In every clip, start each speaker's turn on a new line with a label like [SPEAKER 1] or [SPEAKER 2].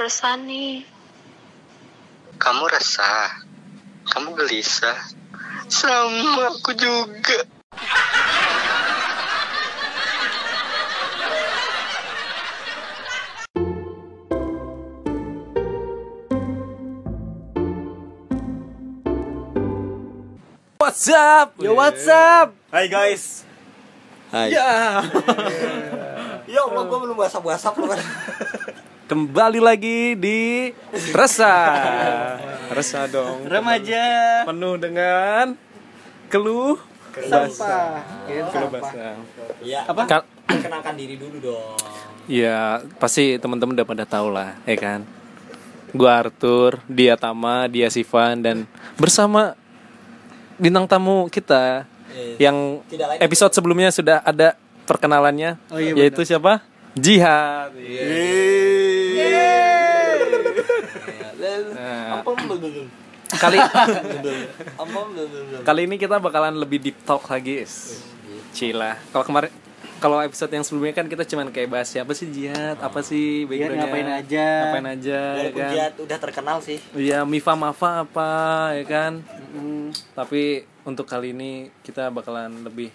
[SPEAKER 1] resah nih.
[SPEAKER 2] Kamu resah. Kamu gelisah. Sama aku juga.
[SPEAKER 3] What's up?
[SPEAKER 4] Yo what's up?
[SPEAKER 3] Hai guys.
[SPEAKER 4] Hai.
[SPEAKER 3] Ya.
[SPEAKER 4] Ya Allah, gue belum basah-basah lu kan.
[SPEAKER 3] Kembali lagi di Resah. Resah dong.
[SPEAKER 4] Remaja.
[SPEAKER 3] Penuh dengan keluh
[SPEAKER 4] Sampah.
[SPEAKER 3] keluh basah.
[SPEAKER 4] Ya.
[SPEAKER 3] Apa? Ka-
[SPEAKER 4] Kenalkan diri dulu dong.
[SPEAKER 3] ya, pasti teman-teman udah pada tahu lah, ya kan? Gua Arthur, dia Tama, dia Sivan dan bersama bintang tamu kita
[SPEAKER 4] Yes.
[SPEAKER 3] yang
[SPEAKER 4] Iya. Tidak lain
[SPEAKER 3] episode sebelumnya sudah ada perkenalannya
[SPEAKER 5] Oh, iya,
[SPEAKER 3] yaitu siapa? Jihad.
[SPEAKER 4] Iya.
[SPEAKER 3] Nah.
[SPEAKER 4] Ampun belum.
[SPEAKER 3] Kali
[SPEAKER 4] Ampun belum.
[SPEAKER 3] Kali ini kita bakalan lebih deep talk lagi, is. Cila. Kalau kemarin kalau episode yang sebelumnya kan kita cuman kayak bahas siapa sih jihad, apa sih
[SPEAKER 5] Jihad
[SPEAKER 3] backgroundnya,
[SPEAKER 5] ngapain aja.
[SPEAKER 3] ngapain aja, ya
[SPEAKER 4] Walaupun
[SPEAKER 3] kan?
[SPEAKER 4] dia udah terkenal sih.
[SPEAKER 3] Iya, Mifa Mafa apa, ya kan? Tapi untuk kali ini kita bakalan lebih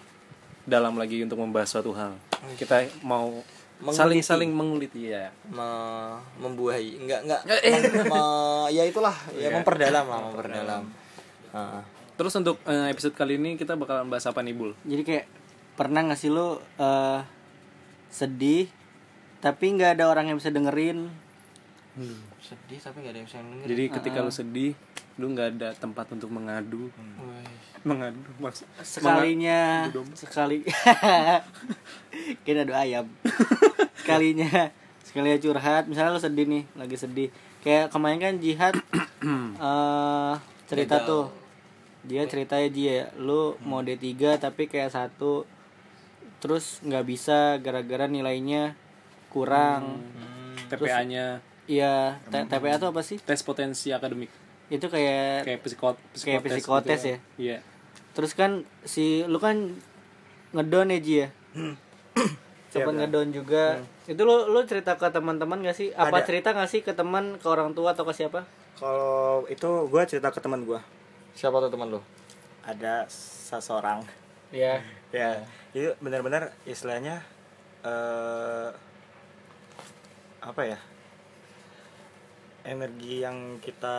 [SPEAKER 3] dalam lagi untuk membahas suatu hal. Kita mau
[SPEAKER 4] Menguliti.
[SPEAKER 3] saling-saling menguliti ya.
[SPEAKER 4] Me- membuahi enggak enggak eh. Me- ya itulah ya memperdalam lah memperdalam Ah.
[SPEAKER 3] Terus untuk eh, episode kali ini kita bakalan bahas apa nih, Bul?
[SPEAKER 5] Jadi kayak pernah gak sih lo eh, sedih tapi nggak ada orang yang bisa dengerin?
[SPEAKER 4] sedih tapi nggak ada yang bisa denger
[SPEAKER 3] Jadi ketika
[SPEAKER 5] Ah.
[SPEAKER 3] lu sedih, lu nggak ada tempat untuk mengadu.
[SPEAKER 5] Mm.
[SPEAKER 3] Mengadu maksud
[SPEAKER 5] Sekalinya sekali kita doa ayam. Sekalinya sekalinya curhat, misalnya lo sedih nih, lagi sedih. Kayak kemarin kan jihad eh cerita tuh. Dia ceritanya dia lu mau D3 tapi kayak satu terus nggak bisa gara-gara nilainya kurang. Mm.
[SPEAKER 3] TPA-nya
[SPEAKER 5] Iya, T- TPA tuh apa sih?
[SPEAKER 3] tes potensi akademik
[SPEAKER 5] Itu kayak
[SPEAKER 3] kayak psikot gitu
[SPEAKER 5] kayak psikotes ya.
[SPEAKER 3] Iya.
[SPEAKER 5] Terus kan si lu kan ngedon ya Ji ya. Sempat ngedon juga. Itu lu lu cerita ke teman-teman gak sih? Apa
[SPEAKER 6] Ada.
[SPEAKER 5] cerita gak sih ke teman, ke orang tua atau ke siapa?
[SPEAKER 6] Kalau itu gue cerita ke teman gue,
[SPEAKER 4] siapa tuh teman lo
[SPEAKER 6] ada seseorang.
[SPEAKER 5] Iya.
[SPEAKER 6] Ya, itu benar-benar istilahnya eh apa ya? Energi yang kita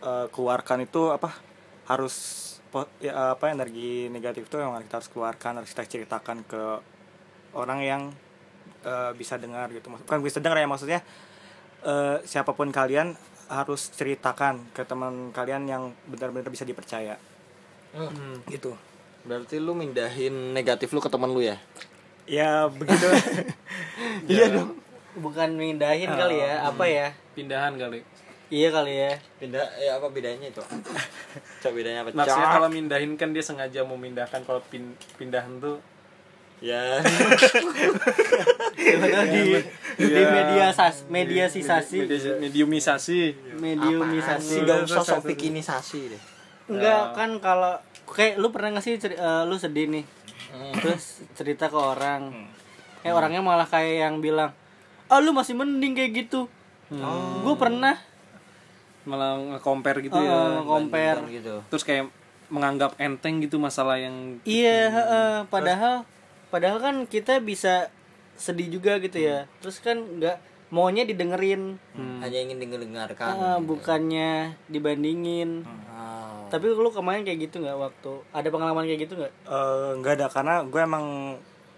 [SPEAKER 6] eh, keluarkan itu apa? Harus po- ya, apa energi negatif itu yang kita harus keluarkan, harus kita ceritakan ke orang yang eh, bisa dengar gitu. Maksud- Bukan bisa dengar ya maksudnya eh, siapapun kalian harus ceritakan ke teman kalian yang benar-benar bisa dipercaya. Gitu.
[SPEAKER 4] berarti lu mindahin negatif lu ke teman lu ya
[SPEAKER 6] Ya begitu.
[SPEAKER 4] iya dong
[SPEAKER 5] Bukan mindahin kali ya, apa ya?
[SPEAKER 3] Pindahan kali.
[SPEAKER 5] Iya kali ya.
[SPEAKER 4] pindah ya apa bedanya itu coba bedanya apa
[SPEAKER 3] Maksudnya
[SPEAKER 4] Cak?
[SPEAKER 3] kalau mindahin kan dia sengaja mau mindahkan kalau pin- pindahan tuh
[SPEAKER 4] ya
[SPEAKER 5] Padahal di di media sas, mediasisasi,
[SPEAKER 3] media- mediumisasi.
[SPEAKER 5] mediumisasi.
[SPEAKER 4] nggak usah sok pikinisasi deh
[SPEAKER 5] Enggak kan kalau kayak lu pernah nggak sih ceri- eh, lu sedih nih terus cerita ke orang eh orangnya malah kayak yang bilang ah lu masih mending kayak gitu gue pernah
[SPEAKER 3] Malah nge-compare gitu ya.
[SPEAKER 5] eh, compare
[SPEAKER 4] gitu
[SPEAKER 3] Terus kayak menganggap enteng gitu masalah yang
[SPEAKER 5] iya heeh, padahal padahal kan kita bisa sedih juga gitu ya terus kan nggak maunya didengerin
[SPEAKER 4] hanya ingin
[SPEAKER 5] eh,
[SPEAKER 4] didengarkan
[SPEAKER 5] bukannya dibandingin
[SPEAKER 4] Ah.
[SPEAKER 5] tapi lu kemarin kayak gitu nggak waktu ada pengalaman kayak gitu nggak
[SPEAKER 6] Eh, Nggak ada karena gue emang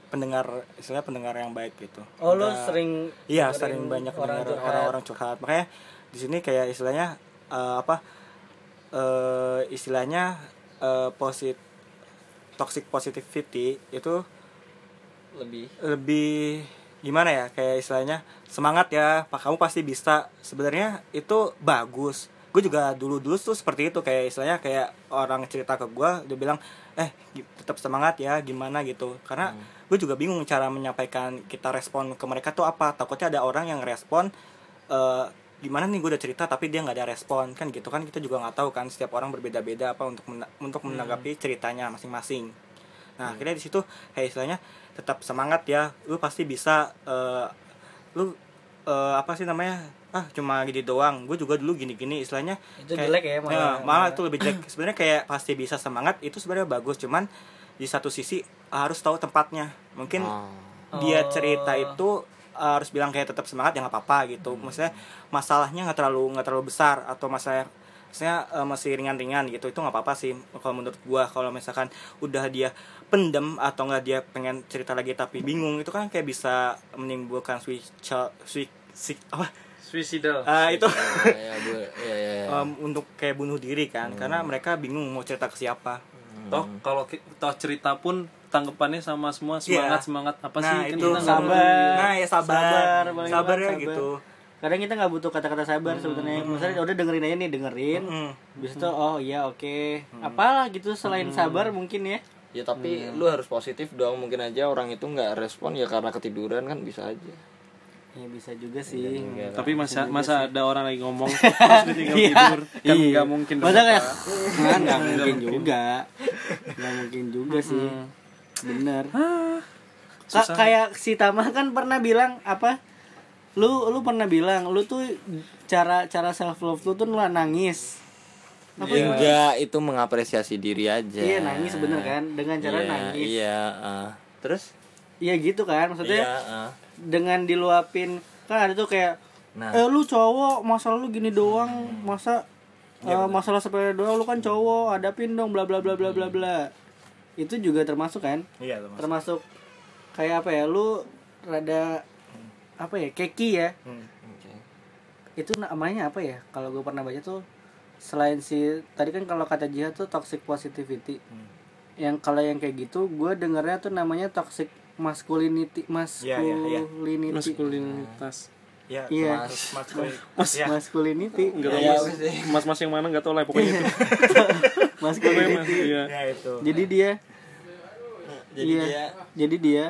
[SPEAKER 6] pendengar istilahnya pendengar yang baik gitu.
[SPEAKER 5] oh lu sering
[SPEAKER 6] Iya sering banyak
[SPEAKER 5] orang
[SPEAKER 6] dengar orang-orang curhat. Makanya di sini kayak istilahnya eh, apa? eh istilahnya eh, posit toxic positivity itu
[SPEAKER 4] lebih
[SPEAKER 6] lebih gimana ya kayak istilahnya semangat ya pak kamu pasti bisa sebenarnya itu bagus gue juga dulu dulu tuh seperti itu kayak istilahnya kayak orang cerita ke gue dia bilang eh gi- tetap semangat ya gimana gitu karena gue juga bingung cara menyampaikan kita respon ke mereka tuh apa takutnya ada orang yang respon eh, gimana nih gue udah cerita tapi dia nggak ada respon kan gitu kan kita juga nggak tahu kan setiap orang berbeda-beda apa untuk mena- untuk menanggapi ceritanya masing-masing
[SPEAKER 5] Hmm.
[SPEAKER 6] Nah, akhirnya di situ kayak istilahnya tetap semangat ya. Lu pasti bisa eh, lu eh, apa sih namanya ah cuma gini doang gue juga dulu gini-gini istilahnya
[SPEAKER 5] Itu jelek ya, malah.
[SPEAKER 6] Nah, malah itu lebih jelek sebenarnya kayak pasti bisa semangat itu sebenarnya bagus cuman di satu sisi harus tahu tempatnya mungkin
[SPEAKER 5] Oh.
[SPEAKER 6] dia cerita itu uh, harus bilang kayak tetap semangat ya nggak apa-apa gitu maksudnya masalahnya nggak terlalu nggak terlalu besar atau masalah maksudnya uh, masih ringan-ringan gitu itu nggak apa-apa sih kalau menurut gua kalau misalkan udah dia pendem atau nggak dia pengen cerita lagi tapi bingung itu kan kayak bisa menimbulkan switch switch, switch apa
[SPEAKER 3] Suicidal.
[SPEAKER 6] Ah, itu
[SPEAKER 4] ya, gue, ya, ya, ya.
[SPEAKER 6] um, untuk kayak bunuh diri kan karena mereka bingung mau cerita ke siapa
[SPEAKER 7] Toh kalau ki- toh cerita pun tanggapannya sama semua
[SPEAKER 6] Iya.
[SPEAKER 7] semangat semangat apa sih
[SPEAKER 6] nah
[SPEAKER 7] kan
[SPEAKER 6] itu
[SPEAKER 7] kita nggak-
[SPEAKER 5] sabar.
[SPEAKER 6] nah ya sabar
[SPEAKER 5] Sabar,
[SPEAKER 6] sabar,
[SPEAKER 5] paling
[SPEAKER 6] ya
[SPEAKER 5] sabar.
[SPEAKER 6] gitu
[SPEAKER 5] kadang kita nggak butuh kata-kata sabar sebenarnya misalnya udah dengerin aja nih dengerin
[SPEAKER 6] Mm.
[SPEAKER 5] Habis itu oh iya oke apalah gitu selain sabar mungkin ya
[SPEAKER 4] Ya tapi lu harus positif dong. Mungkin aja orang itu nggak respon ya karena ketiduran kan bisa aja.
[SPEAKER 5] ya bisa
[SPEAKER 7] Iya,
[SPEAKER 5] juga sih
[SPEAKER 7] tapi masa masa ada orang lagi ngomong terus ditinggal tidur kan nggak mungkin dong.
[SPEAKER 5] Iya. masa kayak "Ah, nggak mungkin juga nggak mungkin juga sih bener Ka- kayak si Tama kan pernah bilang apa lu lu pernah bilang lu tuh cara cara self love lu tuh nula nangis apa
[SPEAKER 7] Iya.
[SPEAKER 4] Enggak, itu mengapresiasi diri aja.
[SPEAKER 5] iya nangis bener kan dengan cara
[SPEAKER 4] Iya,
[SPEAKER 5] nangis
[SPEAKER 4] Iya, ah. Terus?
[SPEAKER 5] Iya gitu kan maksudnya
[SPEAKER 4] Iya, ah.
[SPEAKER 5] dengan diluapin kan ada tuh kayak
[SPEAKER 4] Nah. Hmm.
[SPEAKER 5] eh lu cowok masalah lu gini doang masa
[SPEAKER 4] Iya,
[SPEAKER 5] eh, masalah sepele doang lu kan cowok hadapin dong bla bla bla bla
[SPEAKER 4] Hmm.
[SPEAKER 5] bla bla itu juga termasuk kan
[SPEAKER 6] iya
[SPEAKER 5] termasuk kayak apa ya lu rada
[SPEAKER 4] Hmm.
[SPEAKER 5] apa ya keki ya
[SPEAKER 4] Oke.
[SPEAKER 5] itu namanya apa ya kalau gue pernah baca tuh selain si tadi kan kalau kata jihad tuh toxic positivity
[SPEAKER 6] Hmm.
[SPEAKER 5] yang kalau yang kayak gitu gue dengarnya tuh namanya toxic masculinity
[SPEAKER 6] Iya, iya, iya.
[SPEAKER 5] masculinity
[SPEAKER 7] maskulinitas
[SPEAKER 6] ya
[SPEAKER 5] Iya.
[SPEAKER 6] mas mas Boy. ya
[SPEAKER 5] masculinity
[SPEAKER 7] nggak tahu mas mas mas yang mana nggak tahu lah pokoknya itu Pokoknya mas
[SPEAKER 5] masculinity
[SPEAKER 7] iya
[SPEAKER 6] ya itu
[SPEAKER 5] jadi dia
[SPEAKER 4] Jadi
[SPEAKER 5] iya,
[SPEAKER 4] dia
[SPEAKER 5] jadi dia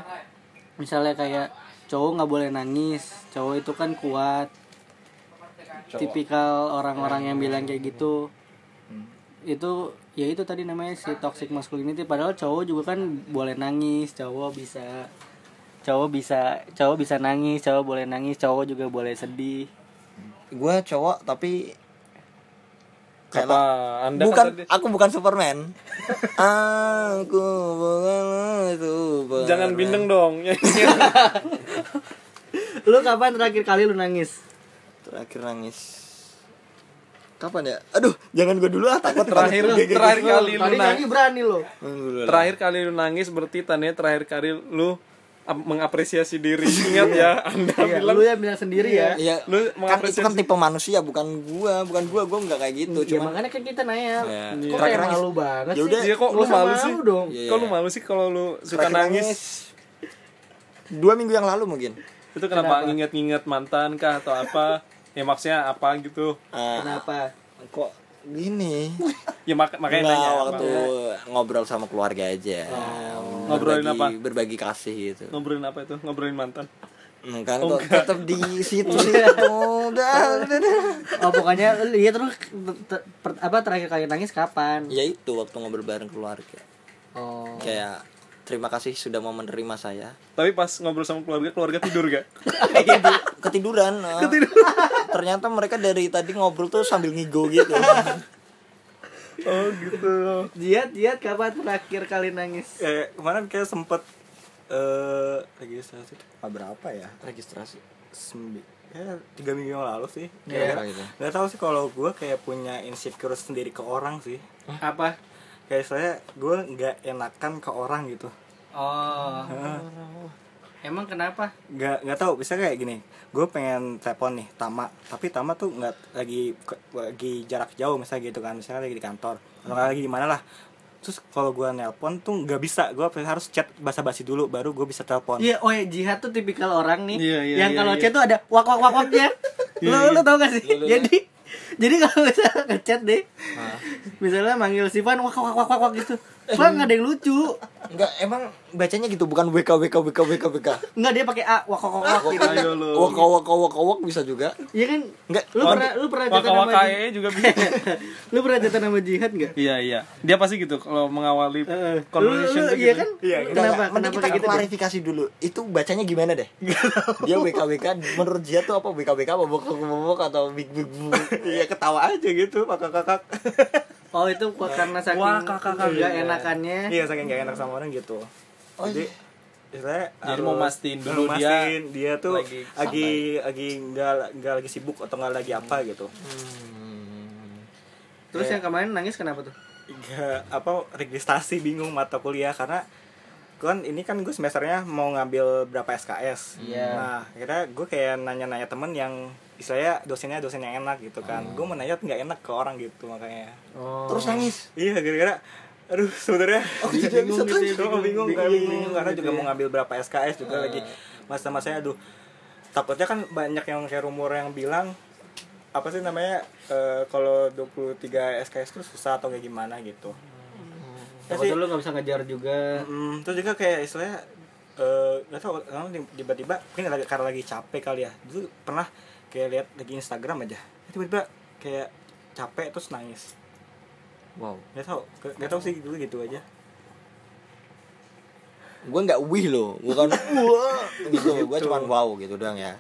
[SPEAKER 5] misalnya kayak cowok nggak boleh nangis cowok itu kan kuat tipikal
[SPEAKER 7] Iya.
[SPEAKER 5] orang-orang yang bilang kayak gitu
[SPEAKER 7] Hmm.
[SPEAKER 5] itu ya itu tadi namanya si toxic masculinity padahal cowok juga kan boleh nangis cowok bisa cowok bisa cowok bisa nangis cowok boleh nangis cowok juga boleh sedih
[SPEAKER 4] gue cowok tapi
[SPEAKER 7] apa anda
[SPEAKER 4] bukan
[SPEAKER 7] kan tadi-
[SPEAKER 4] aku bukan Superman. aku bukan Superman.
[SPEAKER 7] jangan bindeng dong ya
[SPEAKER 5] lu kapan terakhir kali lu nangis
[SPEAKER 4] Terakhir nangis. Kapan ya? Aduh, jangan gue dulu ah takut
[SPEAKER 7] terakhir terakhir kali lu
[SPEAKER 5] tadi
[SPEAKER 7] nangis
[SPEAKER 5] nyanyi berani lo
[SPEAKER 7] terakhir kali lu nangis berarti tandanya terakhir kali lu ap- mengapresiasi diri ingat ya anda
[SPEAKER 5] iya, lu yang bilang sendiri ya
[SPEAKER 4] Iya,
[SPEAKER 7] Lu
[SPEAKER 4] kan itu kan
[SPEAKER 7] mengapresiasi- Iya,
[SPEAKER 4] tipe manusia bukan gua, bukan gua, gua nggak kayak gitu,
[SPEAKER 5] Ya
[SPEAKER 4] cuman
[SPEAKER 5] makanya kan kita nanya
[SPEAKER 4] Iya.
[SPEAKER 5] Kok
[SPEAKER 4] Terakhir
[SPEAKER 5] kayak
[SPEAKER 4] nangis.
[SPEAKER 5] malu banget
[SPEAKER 4] Ya udah.
[SPEAKER 5] sih
[SPEAKER 7] Iya kok
[SPEAKER 5] Nggak
[SPEAKER 7] lu
[SPEAKER 5] usah
[SPEAKER 7] malu sih
[SPEAKER 5] dong
[SPEAKER 4] Iya.
[SPEAKER 7] kok lu malu sih kalau lu suka
[SPEAKER 4] terakhir
[SPEAKER 7] nangis
[SPEAKER 4] dua minggu yang lalu mungkin.
[SPEAKER 7] itu kenapa, nginget-nginget mantan kah atau apa ya maksudnya apa gitu
[SPEAKER 4] Ah,
[SPEAKER 5] Kenapa?
[SPEAKER 4] kok gini?
[SPEAKER 7] ya mak- makanya
[SPEAKER 4] Nggak,
[SPEAKER 7] nanya Oh,
[SPEAKER 4] waktu ngobrol sama keluarga aja.
[SPEAKER 7] Ngobrolin
[SPEAKER 4] Berbagi-
[SPEAKER 7] apa?
[SPEAKER 4] Berbagi kasih gitu.
[SPEAKER 7] Bang. ngobrolin apa itu ngobrolin mantan
[SPEAKER 4] Hmm, kan
[SPEAKER 7] Oh,
[SPEAKER 4] kok tetap di situ
[SPEAKER 7] Iya.
[SPEAKER 4] situ. Udah, udah, udah.
[SPEAKER 5] Oh pokoknya iya terus ter- per- apa terakhir kali nangis kapan?
[SPEAKER 4] Ya itu waktu ngobrol bareng keluarga.
[SPEAKER 5] Oh.
[SPEAKER 4] Kayak terima kasih sudah mau menerima saya.
[SPEAKER 7] tapi pas ngobrol sama keluarga keluarga tidur gak
[SPEAKER 4] Ketiduran. ah. Ternyata mereka dari tadi ngobrol tuh sambil ngigo gitu.
[SPEAKER 7] oh gitu
[SPEAKER 5] Jiat jiat kapan terakhir kali nangis?
[SPEAKER 6] eh, kemarin kayak sempet eh registrasi
[SPEAKER 4] Ah, berapa ya registrasi?
[SPEAKER 6] sembi ya tiga minggu yang lalu sih
[SPEAKER 4] Iya.
[SPEAKER 6] Kayak- nggak tahu sih kalau gue kayak punya insecure sendiri ke orang sih
[SPEAKER 5] Apa?
[SPEAKER 6] kayak saya gue nggak enakan ke orang gitu
[SPEAKER 5] Oh. Emang kenapa?
[SPEAKER 6] nggak nggak tahu bisa kayak gini gue pengen telepon nih tama tapi tama tuh nggak lagi lagi jarak jauh misalnya gitu kan misalnya lagi di kantor atau nggak lagi di mana lah terus kalau gue nelpon tuh nggak bisa gue harus chat basa-basi dulu baru gue bisa telepon
[SPEAKER 5] Iya, oh ya jihad tuh tipikal orang nih
[SPEAKER 7] Iya, iya,
[SPEAKER 5] yang
[SPEAKER 7] iya,
[SPEAKER 5] kalau
[SPEAKER 7] iya.
[SPEAKER 5] ya. chat tuh ada wak wak wak waknya. Lu lu tau gak sih? Jadi Jadi kalau misalnya ngechat deh, misalnya manggil si Van, wak wak wak wak wak gitu. Van nggak ada yang lucu,
[SPEAKER 4] Enggak, emang bacanya gitu bukan WK WK WK WK WK.
[SPEAKER 5] nggak dia pakai A, wak wak wak wak gitu.
[SPEAKER 4] Ayo lu. Waka waka waka wak bisa juga.
[SPEAKER 5] Iya kan?
[SPEAKER 4] Nggak,
[SPEAKER 5] Lu pernah lu pernah jatuh nama Jihad?
[SPEAKER 3] Waka-wakae juga bisa.
[SPEAKER 5] Lu pernah jatuh nama Jihad nggak?
[SPEAKER 3] Iya iya. Dia pasti gitu kalau mengawali
[SPEAKER 5] Heeh. Lu, Eh, lu,
[SPEAKER 3] conversation tuh
[SPEAKER 5] iya
[SPEAKER 3] gitu.
[SPEAKER 5] kan?
[SPEAKER 3] Iya.
[SPEAKER 5] Lu
[SPEAKER 4] Enggak,
[SPEAKER 5] Kenapa?
[SPEAKER 4] enggak. Mending
[SPEAKER 5] Kenapa
[SPEAKER 4] kita
[SPEAKER 5] kayak gitu? deh?
[SPEAKER 4] klarifikasi dulu. Itu bacanya gimana deh? Dia WK WK menurut dia tuh apa WK WK apa bokok bokok atau big big big.
[SPEAKER 6] Iya ketawa aja gitu kakak kakak.
[SPEAKER 5] Oh itu kok karena saking
[SPEAKER 6] Wah, kakak, kakak.
[SPEAKER 5] nggak enakannya.
[SPEAKER 6] Iya saking gak enak sama orang gitu.
[SPEAKER 4] Oh,
[SPEAKER 6] Jadi
[SPEAKER 4] iya.
[SPEAKER 6] istilahnya
[SPEAKER 3] Jadi
[SPEAKER 6] harus-
[SPEAKER 3] mau mastiin dulu
[SPEAKER 6] harus
[SPEAKER 3] dia
[SPEAKER 6] mastiin dia tuh
[SPEAKER 3] lagi
[SPEAKER 6] lagi lagi nggak nggak lagi sibuk atau nggak lagi apa gitu.
[SPEAKER 5] Terus yang kemarin nangis kenapa tuh?
[SPEAKER 6] Nggak apa registrasi bingung mata kuliah karena kan ini kan gue semesternya mau ngambil berapa SKS.
[SPEAKER 5] Iya.
[SPEAKER 6] Nah, akhirnya gue kayak nanya-nanya temen yang istilahnya dosennya dosen yang enak gitu kan.
[SPEAKER 5] Oh.
[SPEAKER 6] Gue mau nanya nggak enak ke orang gitu makanya.
[SPEAKER 4] Terus nangis.
[SPEAKER 6] Iya gara-gara aduh sebenarnya
[SPEAKER 4] Oh, jadi bisa
[SPEAKER 6] bingung,
[SPEAKER 4] tuh.
[SPEAKER 6] bingung, bingung,
[SPEAKER 5] gitu ya, bingung,
[SPEAKER 6] karena
[SPEAKER 5] bingung,
[SPEAKER 6] bingung, karena
[SPEAKER 5] gitu
[SPEAKER 6] juga
[SPEAKER 5] ya. Eh.
[SPEAKER 6] mau ngambil berapa SKS juga lagi masa-masanya aduh takutnya kan banyak yang kayak rumor yang bilang apa sih namanya eh, kalau 23 SKS itu susah atau kayak gimana gitu Terus
[SPEAKER 5] Waktu
[SPEAKER 6] sih,
[SPEAKER 5] lu nggak bisa ngejar juga.
[SPEAKER 6] mm, terus juga kayak istilahnya eh, nggak tahu orang tiba-tiba mungkin lagi- karena lagi capek kali ya dulu pernah kayak lihat lagi Instagram aja tiba-tiba kayak capek terus nangis
[SPEAKER 4] Wow.
[SPEAKER 6] nggak tahu nggak tahu sih dulu gitu aja
[SPEAKER 4] Gue nggak wih loh, bukan wah gitu. Gue cuman wow gitu doang ya.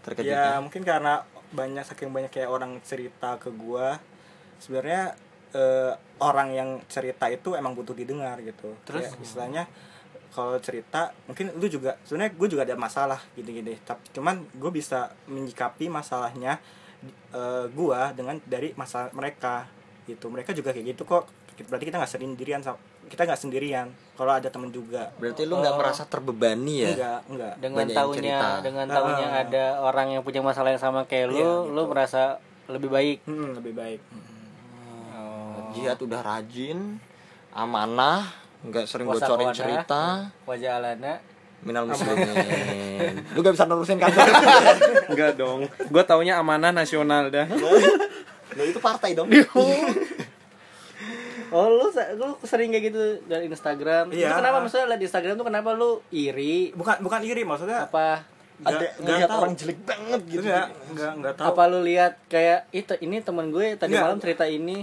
[SPEAKER 4] Terkejut. Ya.
[SPEAKER 6] ya mungkin karena banyak saking banyak kayak orang cerita ke gua sebenarnya eh, orang yang cerita itu emang butuh didengar gitu terus istilahnya kalau cerita mungkin lu juga sebenarnya gue juga ada masalah gini-gini tapi cuman gue bisa menyikapi masalahnya eh, gua dengan dari masalah mereka gitu mereka juga kayak gitu kok berarti kita nggak sendirian sa- kita nggak sendirian kalau ada temen juga
[SPEAKER 4] Berarti lu nggak merasa terbebani ya?
[SPEAKER 6] enggak enggak
[SPEAKER 5] Dengan
[SPEAKER 4] Banyak yang
[SPEAKER 5] taunya
[SPEAKER 4] cerita.
[SPEAKER 5] dengan taunya ada orang yang punya masalah yang sama kayak lu, lu merasa lebih baik.
[SPEAKER 6] Mm, lebih baik
[SPEAKER 4] Jihad udah rajin, amanah, nggak sering bocorin
[SPEAKER 5] Wasakwana.
[SPEAKER 4] cerita.
[SPEAKER 5] Wajah Alana.
[SPEAKER 4] Minal muslimin. lu gak bisa nerusin kantor.
[SPEAKER 3] Enggak dong. Gua taunya amanah nasional dah.
[SPEAKER 4] Nah, itu partai dong.
[SPEAKER 5] Oh lu, se- lu sering kayak gitu dari Instagram. Itu
[SPEAKER 6] Iya.
[SPEAKER 5] kenapa maksudnya liat di Instagram tuh kenapa lu iri?
[SPEAKER 6] bukan bukan iri maksudnya
[SPEAKER 5] Apa
[SPEAKER 4] Ada
[SPEAKER 6] Nggak- nggak
[SPEAKER 4] ngeliat
[SPEAKER 6] tahu.
[SPEAKER 4] orang jelek banget gitu.
[SPEAKER 6] enggak enggak enggak tahu
[SPEAKER 5] apa lu lihat kayak itu ini teman gue tadi
[SPEAKER 6] Nggak.
[SPEAKER 5] malam cerita ini.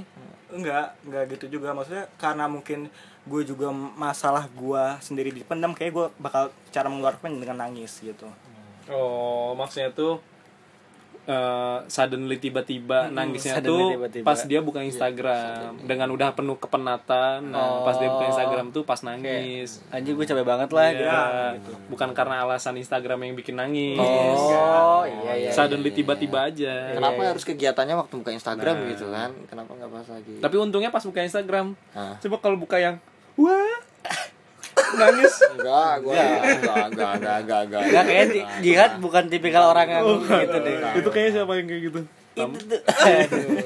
[SPEAKER 6] enggak enggak gitu juga maksudnya karena mungkin gue juga masalah gue sendiri dipendam kayak gue bakal cara mengeluarkan dengan nangis gitu
[SPEAKER 3] Oh, maksudnya tuh eh, suddenly tiba-tiba nangisnya tuh
[SPEAKER 5] suddenly tiba-tiba. Iya,
[SPEAKER 3] pas dia buka Instagram dengan udah penuh kepenatan. Nah, pas dia buka Instagram tuh pas nangis.
[SPEAKER 5] Anjing gue capek banget lah Oh, gitu.
[SPEAKER 3] Ya, bukan karena alasan Instagram yang bikin nangis.
[SPEAKER 5] Oh, iya iya.
[SPEAKER 3] suddenly tiba-tiba aja.
[SPEAKER 4] Kenapa harus kegiatannya waktu buka Instagram gitu kan? Kenapa nggak pas lagi? Nah,
[SPEAKER 3] Tapi untungnya pas buka Instagram.
[SPEAKER 4] Hah?
[SPEAKER 3] Coba kalau buka yang wah nangis.
[SPEAKER 4] enggak, gua enggak, enggak, enggak, enggak, enggak.
[SPEAKER 5] Enggak kayak di- jihad bukan tipikal orang yang gitu deh.
[SPEAKER 3] Itu kayaknya siapa yang kayak gitu?
[SPEAKER 5] Itu tuh. Aduh.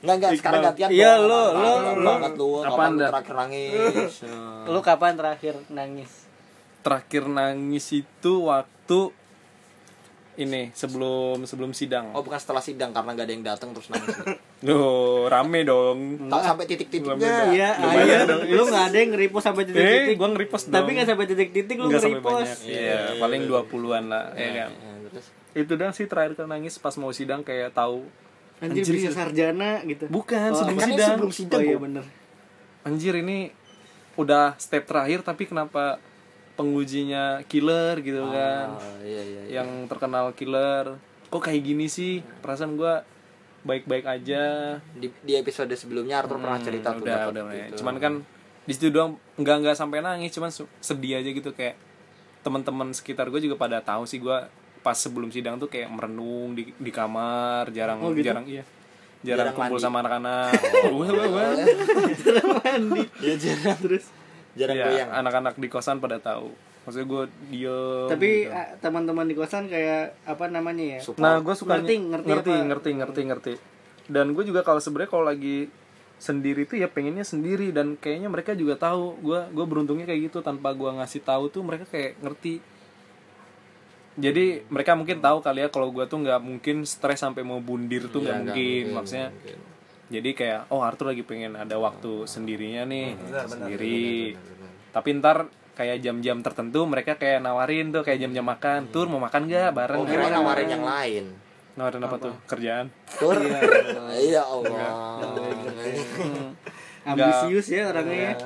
[SPEAKER 4] Enggak, enggak, sekarang gantian.
[SPEAKER 5] Iya,
[SPEAKER 4] dong.
[SPEAKER 5] lu, lu,
[SPEAKER 4] Lama
[SPEAKER 5] lu.
[SPEAKER 4] banget lu,
[SPEAKER 3] Apaan
[SPEAKER 4] kapan lu
[SPEAKER 3] dah?
[SPEAKER 4] terakhir nangis?
[SPEAKER 5] Lu kapan terakhir nangis?
[SPEAKER 3] Terakhir nangis itu waktu ini sebelum sebelum sidang.
[SPEAKER 4] Oh, bukan setelah sidang karena enggak ada yang datang terus nangis.
[SPEAKER 3] Duh, rame dong.
[SPEAKER 4] Tak sampai titik-titiknya.
[SPEAKER 5] Iya, iya. Lu enggak ada yang nge-repost
[SPEAKER 3] Eh,
[SPEAKER 5] sampai titik-titik.
[SPEAKER 3] gua nge-repost dong.
[SPEAKER 5] Tapi enggak sampai titik-titik lu
[SPEAKER 3] Nggak sampai banyak.
[SPEAKER 5] nge-repost.
[SPEAKER 3] Iya, paling 20-an lah. ya kan?
[SPEAKER 4] Ya, terus.
[SPEAKER 3] Itu dong sih terakhir kali nangis pas mau sidang kayak tahu.
[SPEAKER 5] Anjir bisa sarjana gitu.
[SPEAKER 3] Bukan sebelum
[SPEAKER 5] kan ini
[SPEAKER 3] sidang.
[SPEAKER 5] Sebelum sidang. Oh iya bener.
[SPEAKER 3] Anjir ini udah step terakhir tapi kenapa pengujinya killer gitu kan.
[SPEAKER 4] Oh, iya, iya. iya.
[SPEAKER 3] yang terkenal killer kok kayak gini sih perasaan gua baik-baik aja
[SPEAKER 4] Di, di episode sebelumnya Arthur pernah cerita tuh.
[SPEAKER 3] udah
[SPEAKER 4] dapat gitu.
[SPEAKER 3] udah udah.
[SPEAKER 4] itu.
[SPEAKER 3] cuman kan di situ doang nggak nggak sampai nangis cuman su- sedih aja gitu kayak teman-teman sekitar gue juga pada tahu sih gua pas sebelum sidang tuh kayak merenung di di kamar jarang jarang iya jarang, kumpul sama anak-anak
[SPEAKER 4] Oh,
[SPEAKER 3] Wah, wah, wah.
[SPEAKER 4] Iya, jarang terus jarang
[SPEAKER 3] Iya,
[SPEAKER 4] goyang.
[SPEAKER 3] anak-anak di kosan pada tahu maksudnya gue diem
[SPEAKER 5] Tapi ah, teman-teman di kosan kayak apa namanya ya?
[SPEAKER 3] Nah, gue suka
[SPEAKER 5] Ngerti,
[SPEAKER 3] ngerti,
[SPEAKER 5] ngerti
[SPEAKER 3] ngerti, ngerti,
[SPEAKER 5] apa?
[SPEAKER 3] ngerti, ngerti, Dan gue juga kalau sebenarnya kalau lagi sendiri tuh ya pengennya sendiri dan kayaknya mereka juga tahu. Gue gue beruntungnya kayak gitu tanpa gue ngasih tahu tuh mereka kayak ngerti. jadi mereka mungkin tahu kali ya kalau gue tuh nggak mungkin stres sampai mau bundir tuh Iya, nggak
[SPEAKER 4] nggak
[SPEAKER 3] mungkin. Hmm.
[SPEAKER 4] mungkin,
[SPEAKER 3] maksudnya
[SPEAKER 4] nggak mungkin.
[SPEAKER 3] jadi kayak oh Arthur lagi pengen ada waktu sendirinya nih sendiri tapi ntar kayak jam-jam tertentu mereka kayak nawarin tuh kayak jam-jam makan tur mau makan gak bareng
[SPEAKER 4] Oh, kirain nawarin yang lain.
[SPEAKER 3] nawarin Nah, apa, tuh kerjaan
[SPEAKER 4] Tur. Iya Allah.
[SPEAKER 5] Ambisius ya orangnya.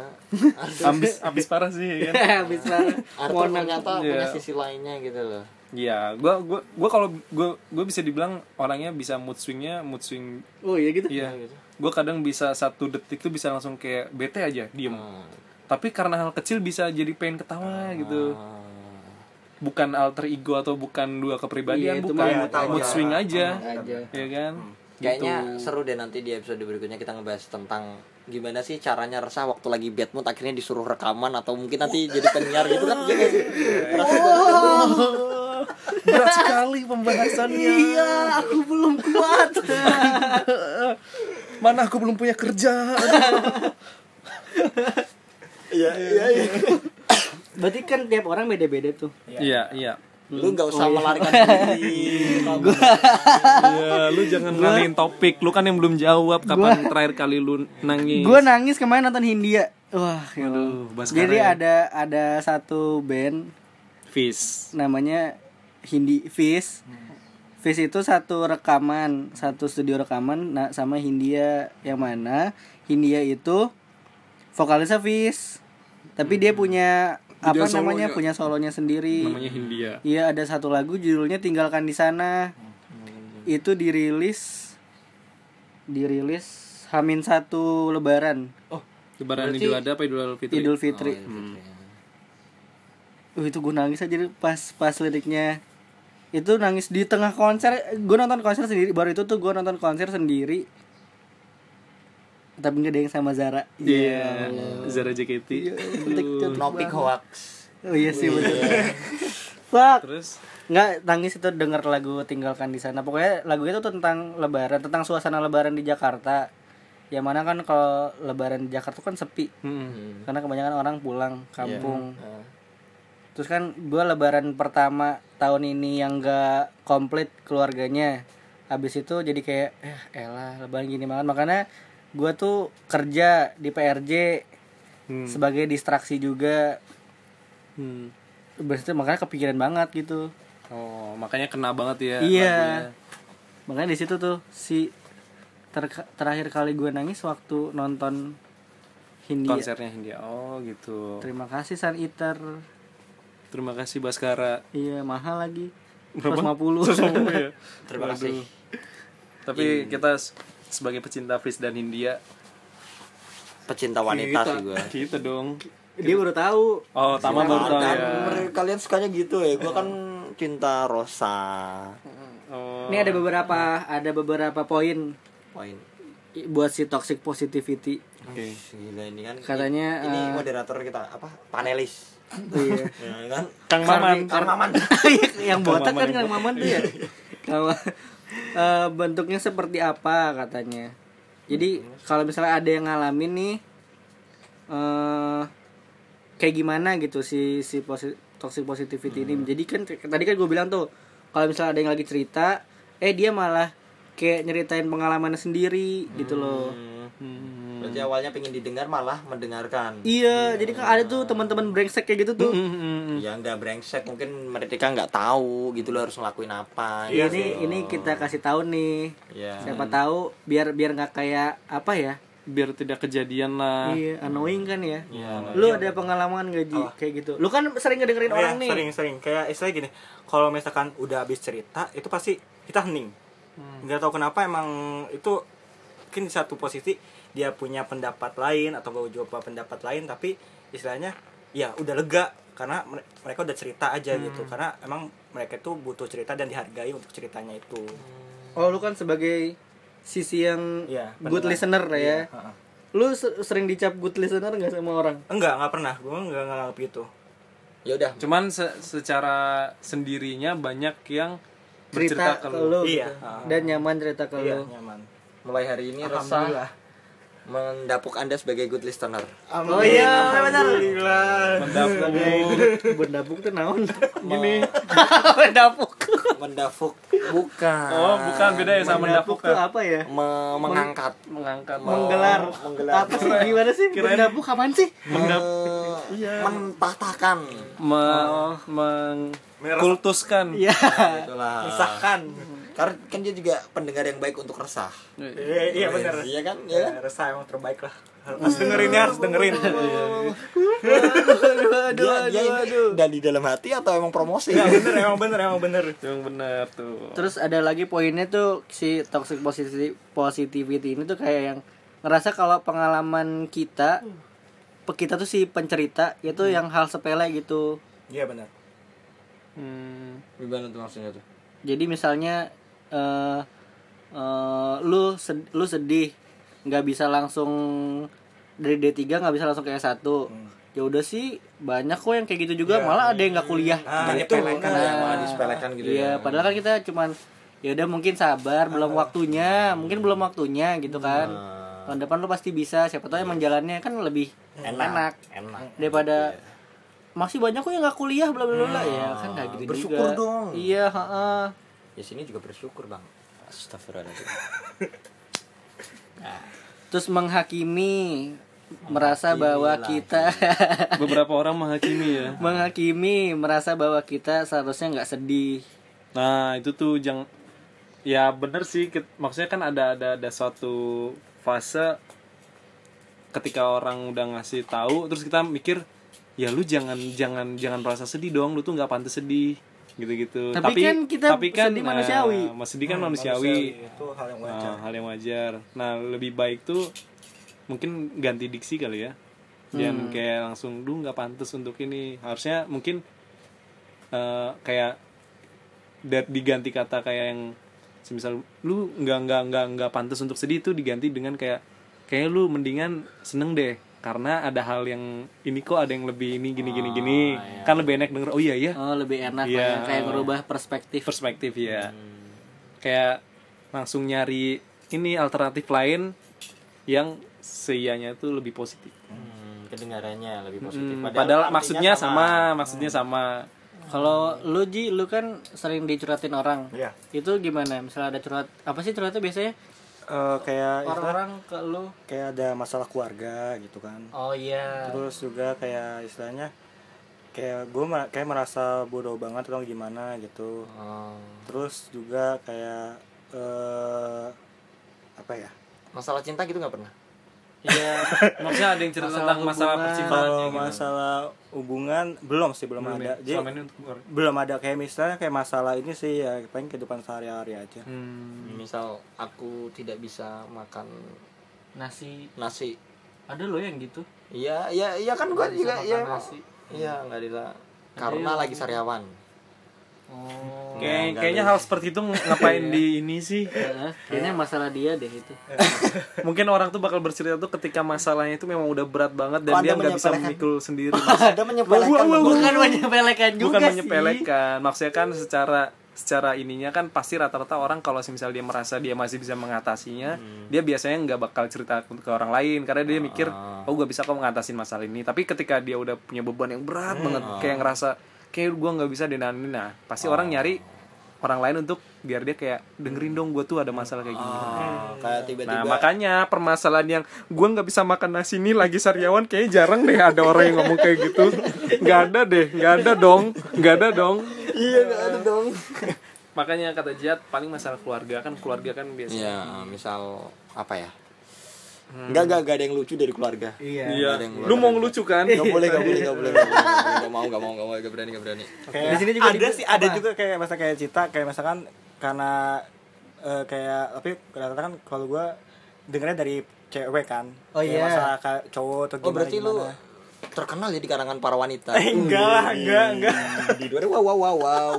[SPEAKER 3] abis abis parah sih ya kan?
[SPEAKER 5] Habis banget.
[SPEAKER 4] Arthur ternyata punya sisi lainnya gitu loh.
[SPEAKER 3] Iya, gua gua gua kalau gua gua bisa dibilang orangnya bisa mood swingnya mood swing
[SPEAKER 5] Oh iya gitu.
[SPEAKER 3] iya. Gua kadang bisa satu detik tuh bisa langsung kayak bete aja, diem. Tapi karena hal kecil bisa jadi pengen ketawa gitu.
[SPEAKER 4] Ah.
[SPEAKER 3] Bukan alter ego atau bukan dua kepribadian,
[SPEAKER 5] Iya, itu
[SPEAKER 3] bukan
[SPEAKER 5] mah
[SPEAKER 3] mood, swing aja.
[SPEAKER 5] aja.
[SPEAKER 3] Iya kan?
[SPEAKER 4] Kayaknya seru deh nanti di episode berikutnya kita ngebahas tentang gimana sih caranya resah waktu lagi bad mood akhirnya disuruh rekaman atau mungkin nanti jadi penyiar gitu kan. Iya nggak sih? Ngerasa
[SPEAKER 3] Berat sekali pembahasannya.
[SPEAKER 5] Iya, aku belum kuat.
[SPEAKER 3] Mana aku belum punya kerja.
[SPEAKER 5] Berarti kan tiap orang beda-beda tuh.
[SPEAKER 3] Iya, iya.
[SPEAKER 4] lu nggak usah melarikan diri. Kamu-
[SPEAKER 3] Iya, lu jangan ngalihin topik. Lu kan yang belum jawab kapan terakhir kali lu nangis.
[SPEAKER 5] Gue nangis kemarin nonton Hindia. Wah, ya
[SPEAKER 3] Aduh,
[SPEAKER 5] Allah.
[SPEAKER 3] Baskara
[SPEAKER 5] Jadi
[SPEAKER 3] ya.
[SPEAKER 5] ada ada satu band
[SPEAKER 3] Fis.
[SPEAKER 5] namanya Hindi Fish. Fish itu satu rekaman, satu studio rekaman nah, sama Hindia yang mana Hindia itu vokalisnya Fish. Tapi Hmm. dia punya apa namanya? punya solonya sendiri.
[SPEAKER 3] Namanya Hindia.
[SPEAKER 5] Iya ada satu lagu judulnya Tinggalkan di Sana. Itu dirilis dirilis Hamin satu Lebaran
[SPEAKER 3] Lebaran Idul Adha apa Idul Fitri?
[SPEAKER 5] Idul ya? Oh, iya, Fitri. Hmm. Uh, itu gue nangis aja deh pas pas liriknya itu nangis di tengah konser gue nonton konser sendiri baru itu tuh gue nonton konser sendiri tapi nggak ada yang sama Zara
[SPEAKER 3] Iya. Zara JKT.
[SPEAKER 5] cantik cantik
[SPEAKER 4] Topik
[SPEAKER 5] banget.
[SPEAKER 4] hoax.
[SPEAKER 5] oh iya sih betul fuck
[SPEAKER 3] Terus
[SPEAKER 5] nggak nangis itu denger lagu tinggalkan di sana pokoknya lagu itu tentang lebaran tentang suasana lebaran di Jakarta yang mana kan kalau lebaran di Jakarta tuh kan sepi
[SPEAKER 3] Hmm.
[SPEAKER 5] karena kebanyakan orang pulang kampung terus kan gue lebaran pertama tahun ini yang gak komplit keluarganya habis itu jadi kayak eh elah lebaran gini banget makanya gue tuh kerja di PRJ sebagai distraksi juga
[SPEAKER 3] Hmm.
[SPEAKER 5] Habis itu makanya kepikiran banget gitu
[SPEAKER 3] oh, makanya kena banget ya.
[SPEAKER 5] iya makanya di situ tuh si terka- terakhir kali gue nangis waktu nonton
[SPEAKER 3] lagunya.
[SPEAKER 5] Hindia
[SPEAKER 3] Konsernya Hindia. Oh, gitu.
[SPEAKER 5] terima kasih Sun Eater
[SPEAKER 3] Terima kasih Baskara.
[SPEAKER 5] Iya mahal lagi.
[SPEAKER 3] Berapa?
[SPEAKER 5] 150.
[SPEAKER 3] Iya.
[SPEAKER 4] Terima kasih.
[SPEAKER 3] Tapi kita s- sebagai pecinta Fis dan Hindia
[SPEAKER 4] Pecinta wanita sih gue.
[SPEAKER 3] kita Gitu dong.
[SPEAKER 5] Dia baru tahu.
[SPEAKER 3] Oh, Tama baru tahu ya.
[SPEAKER 4] Kalian sukanya gitu ya. Gue kan cinta Rosa.
[SPEAKER 3] Oh.
[SPEAKER 5] Ini ada beberapa ada beberapa poin
[SPEAKER 4] Poin.
[SPEAKER 5] i- buat si toxic positivity.
[SPEAKER 4] Oke. Gila ini kan.
[SPEAKER 5] Katanya,
[SPEAKER 4] ini
[SPEAKER 5] eh,
[SPEAKER 4] moderator kita apa? Panelis.
[SPEAKER 5] Iya.
[SPEAKER 4] ya kan?
[SPEAKER 3] Kang Maman.
[SPEAKER 5] Kang Maman. yang botak kan Kang Maman tuh ya. Kang Ma- Eh, bentuknya seperti apa katanya. Jadi kalau misalnya ada yang ngalamin nih eh kayak gimana gitu si si posi- toxic positivity ini. Jadi kan t- tadi kan gue bilang tuh kalau misalnya ada yang lagi cerita, eh dia malah kayak nyeritain pengalamannya sendiri gitu loh.
[SPEAKER 4] Berarti awalnya pengen didengar malah mendengarkan.
[SPEAKER 5] Iya, jadi kan ada tuh teman-teman brengsek kayak gitu tuh.
[SPEAKER 3] hmm,
[SPEAKER 4] Ya nggak brengsek mungkin mereka nggak tahu gitu lo harus ngelakuin apa. gitu.
[SPEAKER 5] Iya, ini ini kita kasih tahu nih.
[SPEAKER 4] Iya.
[SPEAKER 5] Siapa tahu biar biar nggak kayak apa ya?
[SPEAKER 3] biar tidak kejadian lah.
[SPEAKER 5] Iya, annoying kan ya.
[SPEAKER 4] Iya,
[SPEAKER 5] Lu ada pengalaman gak Ji? kayak gitu? Lu kan sering ngedengerin
[SPEAKER 6] Oh
[SPEAKER 5] orang
[SPEAKER 6] ya,
[SPEAKER 5] nih.
[SPEAKER 6] Sering-sering kayak istilah gini. Kalau misalkan udah habis cerita itu pasti kita hening. Nggak tahu kenapa emang itu mungkin di satu posisi dia punya pendapat lain atau gue coba pendapat lain tapi istilahnya ya udah lega karena mere- mereka udah cerita aja gitu karena emang mereka tuh butuh cerita dan dihargai untuk ceritanya itu.
[SPEAKER 5] Oh, lu kan sebagai sisi yang
[SPEAKER 6] Iya, beneran.
[SPEAKER 5] good listener ya.
[SPEAKER 6] Ha-ha.
[SPEAKER 5] Lu se- sering dicap good listener nggak sama orang?
[SPEAKER 6] Enggak, enggak pernah. Gue enggak enggak nganggap gitu.
[SPEAKER 4] Ya udah.
[SPEAKER 3] Cuman se- secara sendirinya banyak yang
[SPEAKER 5] Cerita,
[SPEAKER 3] bercerita ke
[SPEAKER 5] ke
[SPEAKER 3] lu.
[SPEAKER 5] lu
[SPEAKER 6] Iya.
[SPEAKER 5] gitu. Dan nyaman cerita ke lu.
[SPEAKER 6] Iya, nyaman.
[SPEAKER 4] Mulai hari ini resah.
[SPEAKER 6] Alhamdulillah.
[SPEAKER 4] mendapuk Anda sebagai good listener.
[SPEAKER 5] Oh iya, benar.
[SPEAKER 3] Mendapuk.
[SPEAKER 5] Bendabung tuh naon?
[SPEAKER 3] Gini.
[SPEAKER 5] Bendapuk.
[SPEAKER 4] Mendapuk bukan.
[SPEAKER 3] Oh, bukan beda ya sama mendapuk.
[SPEAKER 5] Bendapuk tuh apa ya?
[SPEAKER 4] Me- mengangkat.
[SPEAKER 3] Mengangkat.
[SPEAKER 5] Menggelar.
[SPEAKER 4] menggelar.
[SPEAKER 5] Apa sih gimana sih? Bendabuk apaan sih?
[SPEAKER 4] Me-
[SPEAKER 5] Iya.
[SPEAKER 4] Mentahtakan.
[SPEAKER 3] Me- mengkultuskan.
[SPEAKER 5] Iya.
[SPEAKER 4] Itulah.
[SPEAKER 6] Resahkan.
[SPEAKER 4] Karena kan dia juga pendengar yang baik untuk resah.
[SPEAKER 6] Iya, iya benar.
[SPEAKER 4] Iya kan? Iya kan?
[SPEAKER 6] Resah emang terbaik lah. Harus dengerin ya, harus dengerin.
[SPEAKER 4] Dia, dia ini dari dalam hati atau emang promosi?
[SPEAKER 6] Iya bener, emang bener, emang bener.
[SPEAKER 3] Yang benar tuh.
[SPEAKER 5] Terus ada lagi poinnya tuh si toxic positivity, positivity ini tuh kayak yang ngerasa kalau pengalaman kita pe- kita tuh si pencerita itu yang hal sepele gitu.
[SPEAKER 6] Iya bener.
[SPEAKER 3] Hmm.
[SPEAKER 4] Gimana tuh maksudnya tuh?
[SPEAKER 5] Jadi misalnya eh eh, lu sed- lu sedih nggak bisa langsung dari D3 nggak bisa langsung ke S1. Ya udah sih banyak kok yang kayak gitu juga malah ada yang nggak kuliah.
[SPEAKER 6] Nah,
[SPEAKER 4] Dari
[SPEAKER 6] itu
[SPEAKER 4] pelekan
[SPEAKER 6] bener.
[SPEAKER 4] ya, malah disepelekan gitu
[SPEAKER 5] iya,
[SPEAKER 4] ya.
[SPEAKER 5] padahal kan kita cuman ya udah mungkin sabar, belum waktunya, mungkin belum waktunya gitu kan. Tahun depan lu pasti bisa, siapa tahu emang jalannya kan lebih enak,
[SPEAKER 4] Iya. Enak. Iya.
[SPEAKER 5] daripada masih banyak kok yang nggak kuliah bla bla bla, bla." ya kan nggak gitu
[SPEAKER 4] bersyukur
[SPEAKER 5] juga.
[SPEAKER 4] dong.
[SPEAKER 5] Iya, heeh.
[SPEAKER 4] Ya sini juga bersyukur, Bang. Astagfirullahaladzim.
[SPEAKER 5] Terus menghakimi merasa bahwa
[SPEAKER 4] lagi.
[SPEAKER 5] kita
[SPEAKER 4] iya.
[SPEAKER 3] Beberapa orang menghakimi ya.
[SPEAKER 5] menghakimi merasa bahwa kita seharusnya nggak sedih.
[SPEAKER 3] Nah, itu tuh jang ya bener sih Kit- maksudnya kan ada ada ada suatu fase ketika orang udah ngasih tahu terus kita mikir ya lu jangan jangan jangan merasa sedih dong lu tuh nggak pantas sedih gitu-gitu
[SPEAKER 5] Tapi kan kita sedih manusiawi.
[SPEAKER 3] nah, mas sedih kan manusiawi,
[SPEAKER 6] Itu hal yang wajar.
[SPEAKER 3] Nah, hal yang wajar nah lebih baik tuh mungkin ganti diksi kali ya jangan kayak langsung lu nggak pantas untuk ini harusnya mungkin eh, kayak da- diganti kata kayak yang semisal lu nggak nggak nggak nggak pantas untuk sedih itu diganti dengan kayak kayak lu mendingan seneng deh karena ada hal yang ini kok ada yang lebih ini gini gini gini kan lebih enak denger oh iya iya
[SPEAKER 5] Oh, lebih enak
[SPEAKER 3] Iya.
[SPEAKER 5] lah ya, kayak merubah perspektif.
[SPEAKER 3] perspektif ya
[SPEAKER 4] Hmm.
[SPEAKER 3] kayak langsung nyari ini alternatif lain yang seianya itu lebih positif
[SPEAKER 4] Hmm, kedengarannya lebih positif.
[SPEAKER 3] Hmm,
[SPEAKER 4] Padahal
[SPEAKER 3] padahal
[SPEAKER 4] artinya Hmm.
[SPEAKER 3] maksudnya sama, maksudnya sama
[SPEAKER 5] Kalau lu Ji, lu kan sering dicuratin orang.
[SPEAKER 6] Iya.
[SPEAKER 5] Itu gimana? Misalnya ada curhat, apa sih curhatnya biasanya?
[SPEAKER 6] Eh, kayak istilah-
[SPEAKER 5] Orang-orang ke lu.
[SPEAKER 6] kayak ada masalah keluarga gitu kan.
[SPEAKER 5] Oh iya.
[SPEAKER 6] Terus juga kayak istilahnya kayak gue kayak merasa bodoh banget atau gimana gitu.
[SPEAKER 4] Oh,
[SPEAKER 6] Terus juga kayak eh apa ya?
[SPEAKER 4] masalah cinta gitu nggak pernah.
[SPEAKER 5] Iya.
[SPEAKER 3] maksudnya ada yang cerita tentang masalah percintaan
[SPEAKER 4] Oh,
[SPEAKER 6] Kalau masalah hubungan belum sih belum, ada. Jadi
[SPEAKER 3] ya? selama ini untuk keluarga.
[SPEAKER 6] belum ada kayak misalnya kayak masalah ini sih ya paling kehidupan sehari-hari aja.
[SPEAKER 4] Hmm. Misal aku tidak bisa makan
[SPEAKER 5] Nasi.
[SPEAKER 4] nasi.
[SPEAKER 5] Ada lo yang gitu.
[SPEAKER 4] Iya, iya, iya kan gue juga
[SPEAKER 5] makan
[SPEAKER 4] iya. emang.
[SPEAKER 5] nasi.
[SPEAKER 4] Iya, nggak bisa. Karena lagi sariawan.
[SPEAKER 5] Oh.
[SPEAKER 3] Kayak- kayaknya hal seperti itu
[SPEAKER 4] Iya.
[SPEAKER 3] ngapain di ini sih
[SPEAKER 5] Heeh, Kayaknya masalah dia deh itu.
[SPEAKER 3] mungkin orang tuh bakal bercerita tuh ketika masalahnya itu memang udah berat banget dan
[SPEAKER 4] Kok
[SPEAKER 3] dia
[SPEAKER 4] Anda
[SPEAKER 3] nggak bisa
[SPEAKER 4] menyepelekan?
[SPEAKER 3] memikul sendiri
[SPEAKER 4] Ada menyepelekan
[SPEAKER 5] kan, Bukan menyepelekan juga
[SPEAKER 3] bukan
[SPEAKER 5] sih.
[SPEAKER 3] menyepelekan maksudnya kan secara secara ininya kan pasti rata-rata orang kalau misal dia merasa dia masih bisa mengatasinya
[SPEAKER 5] Hmm.
[SPEAKER 3] dia biasanya nggak bakal cerita ke ke orang lain karena
[SPEAKER 5] Ah.
[SPEAKER 3] dia mikir oh gue bisa kok mengatasin masalah ini tapi ketika dia udah punya beban yang berat
[SPEAKER 5] Hmm.
[SPEAKER 3] banget
[SPEAKER 5] Ah.
[SPEAKER 3] kayak ngerasa kayak gue nggak bisa dinanin nah pasti orang nyari orang lain untuk biar dia kayak
[SPEAKER 5] Hmm.
[SPEAKER 3] dengerin dong gue tuh ada masalah kayak gini
[SPEAKER 4] Oh, kayak
[SPEAKER 3] Nah
[SPEAKER 4] tiba-tiba
[SPEAKER 3] makanya permasalahan yang gue nggak bisa makan nasi ini lagi sariawan kayaknya jarang deh ada orang yang ngomong kayak gitu nggak ada deh nggak ada dong nggak ada dong
[SPEAKER 4] iya nggak ada dong
[SPEAKER 3] makanya kata Jihad paling masalah keluarga kan keluarga kan biasanya
[SPEAKER 4] iya misal apa ya Hmm. nggak nggak nggak ada yang lucu dari keluarga iya ada yang
[SPEAKER 3] lu mau ngelucu kan
[SPEAKER 4] nggak boleh nggak boleh nggak boleh nggak boleh, nggak boleh. Nggak mau nggak mau nggak mau nggak berani nggak berani
[SPEAKER 6] Kayak
[SPEAKER 5] Di sini juga
[SPEAKER 6] ada
[SPEAKER 5] di-
[SPEAKER 6] sih ada
[SPEAKER 5] apa?
[SPEAKER 6] juga kayak masa kayak cita kayak misalkan karena eh, kayak tapi rata-rata kan kalau gue dengernya dari cewek kan
[SPEAKER 5] Oh,
[SPEAKER 6] Kayak
[SPEAKER 5] iya.
[SPEAKER 6] masalah kayak cowok atau
[SPEAKER 4] oh
[SPEAKER 6] gimana
[SPEAKER 4] berarti lu
[SPEAKER 6] gimana.
[SPEAKER 4] terkenal ya di karangan para wanita Hmm,
[SPEAKER 6] enggak lah, enggak enggak
[SPEAKER 4] di luar wow wow wow wow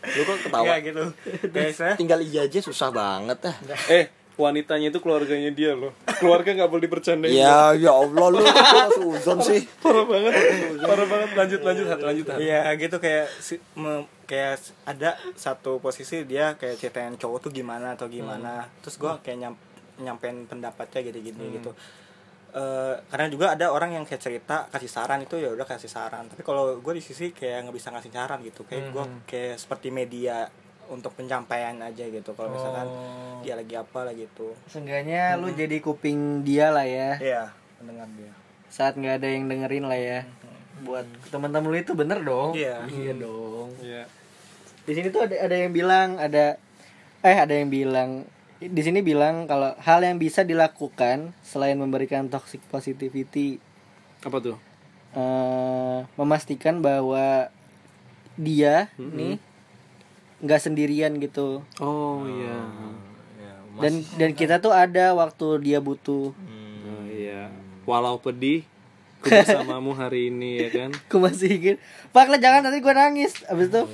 [SPEAKER 4] lu kok ketawa
[SPEAKER 6] enggak gitu kayak saya
[SPEAKER 4] tinggal iya aja susah banget ah
[SPEAKER 3] eh wanitanya itu keluarganya dia loh keluarga nggak boleh bercandain
[SPEAKER 4] ya ya allah lu kok suzon sih
[SPEAKER 3] parah banget parah banget lanjut lanjut Hat, lanjut Hat.
[SPEAKER 6] Iya gitu kayak si- me- kayak s- Hmm. ada satu posisi dia kayak ceritain cowok tuh gimana atau gimana. Terus gua kayak nyam- nyampein pendapatnya gini-gini gitu Eh, karena juga ada orang yang kayak cerita kasih saran itu ya udah kasih saran tapi kalau gue di sisi kayak nggak bisa ngasih saran gitu kayak gue kayak seperti media untuk penyampaian aja gitu kalau misalkan dia lagi apa lah gitu
[SPEAKER 5] Seenggaknya lu jadi kuping dia lah ya.
[SPEAKER 6] Iya, mendengar dia.
[SPEAKER 5] Saat nggak ada yang dengerin lah ya. Buat teman-teman lu itu bener dong.
[SPEAKER 6] Iya.
[SPEAKER 5] Iya dong. Di sini tuh ada ada yang bilang ada eh ada yang bilang di sini bilang kalau hal yang bisa dilakukan selain memberikan toxic positivity
[SPEAKER 7] Apa tuh?
[SPEAKER 5] eh, memastikan bahwa dia nih nggak sendirian gitu
[SPEAKER 7] Oh iya.
[SPEAKER 4] Ah,
[SPEAKER 5] dan dan kita tuh ada waktu dia butuh
[SPEAKER 7] Oh, iya. Walau pedih ku bersamamu hari ini ya kan.
[SPEAKER 5] Aku masih ingin Pak lah jangan nanti gue nangis Abis itu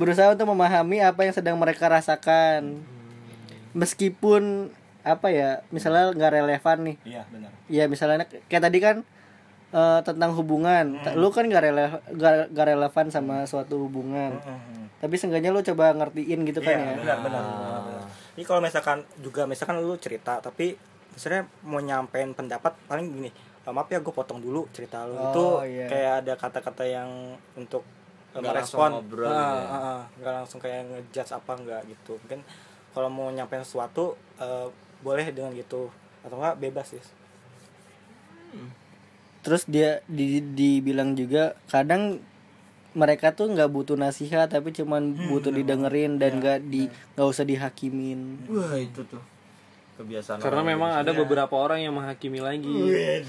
[SPEAKER 5] Berusaha untuk memahami apa yang sedang mereka rasakan Meskipun Apa ya Misalnya nggak relevan nih
[SPEAKER 6] Iya, benar.
[SPEAKER 5] Ya misalnya Kayak tadi kan eh, Tentang hubungan Ta- Lu kan nggak rele nggak- nggak relevan sama suatu hubungan
[SPEAKER 6] Mhm.
[SPEAKER 5] Tapi seenggaknya lu coba ngertiin gitu kan ya
[SPEAKER 6] Iya, benar, benar,
[SPEAKER 4] Ah.
[SPEAKER 6] benar, benar. Ini kalau misalkan juga misalkan lu cerita tapi misalnya mau nyampein pendapat paling gini, "Eh, maaf ya gue potong dulu cerita lu. itu
[SPEAKER 5] iya.
[SPEAKER 6] kayak ada kata-kata yang untuk eh,
[SPEAKER 4] Oh, Nggak langsung
[SPEAKER 6] merespon.
[SPEAKER 4] ngobrol
[SPEAKER 6] Ah,
[SPEAKER 4] gitu ya.
[SPEAKER 6] ah, ah. nggak langsung kayak ngejudge apa enggak gitu. Mungkin kalau mau nyampein sesuatu eh, boleh dengan gitu atau enggak bebas sih.
[SPEAKER 5] Terus dia di, dibilang juga kadang mereka tuh nggak butuh nasihat tapi cuman butuh didengerin dan nggak di nggak usah dihakimin.
[SPEAKER 4] Wah, itu tuh. Kebiasaan.
[SPEAKER 3] Karena
[SPEAKER 4] orang
[SPEAKER 3] memang ada beberapa orang yang menghakimi lagi.
[SPEAKER 5] Iya.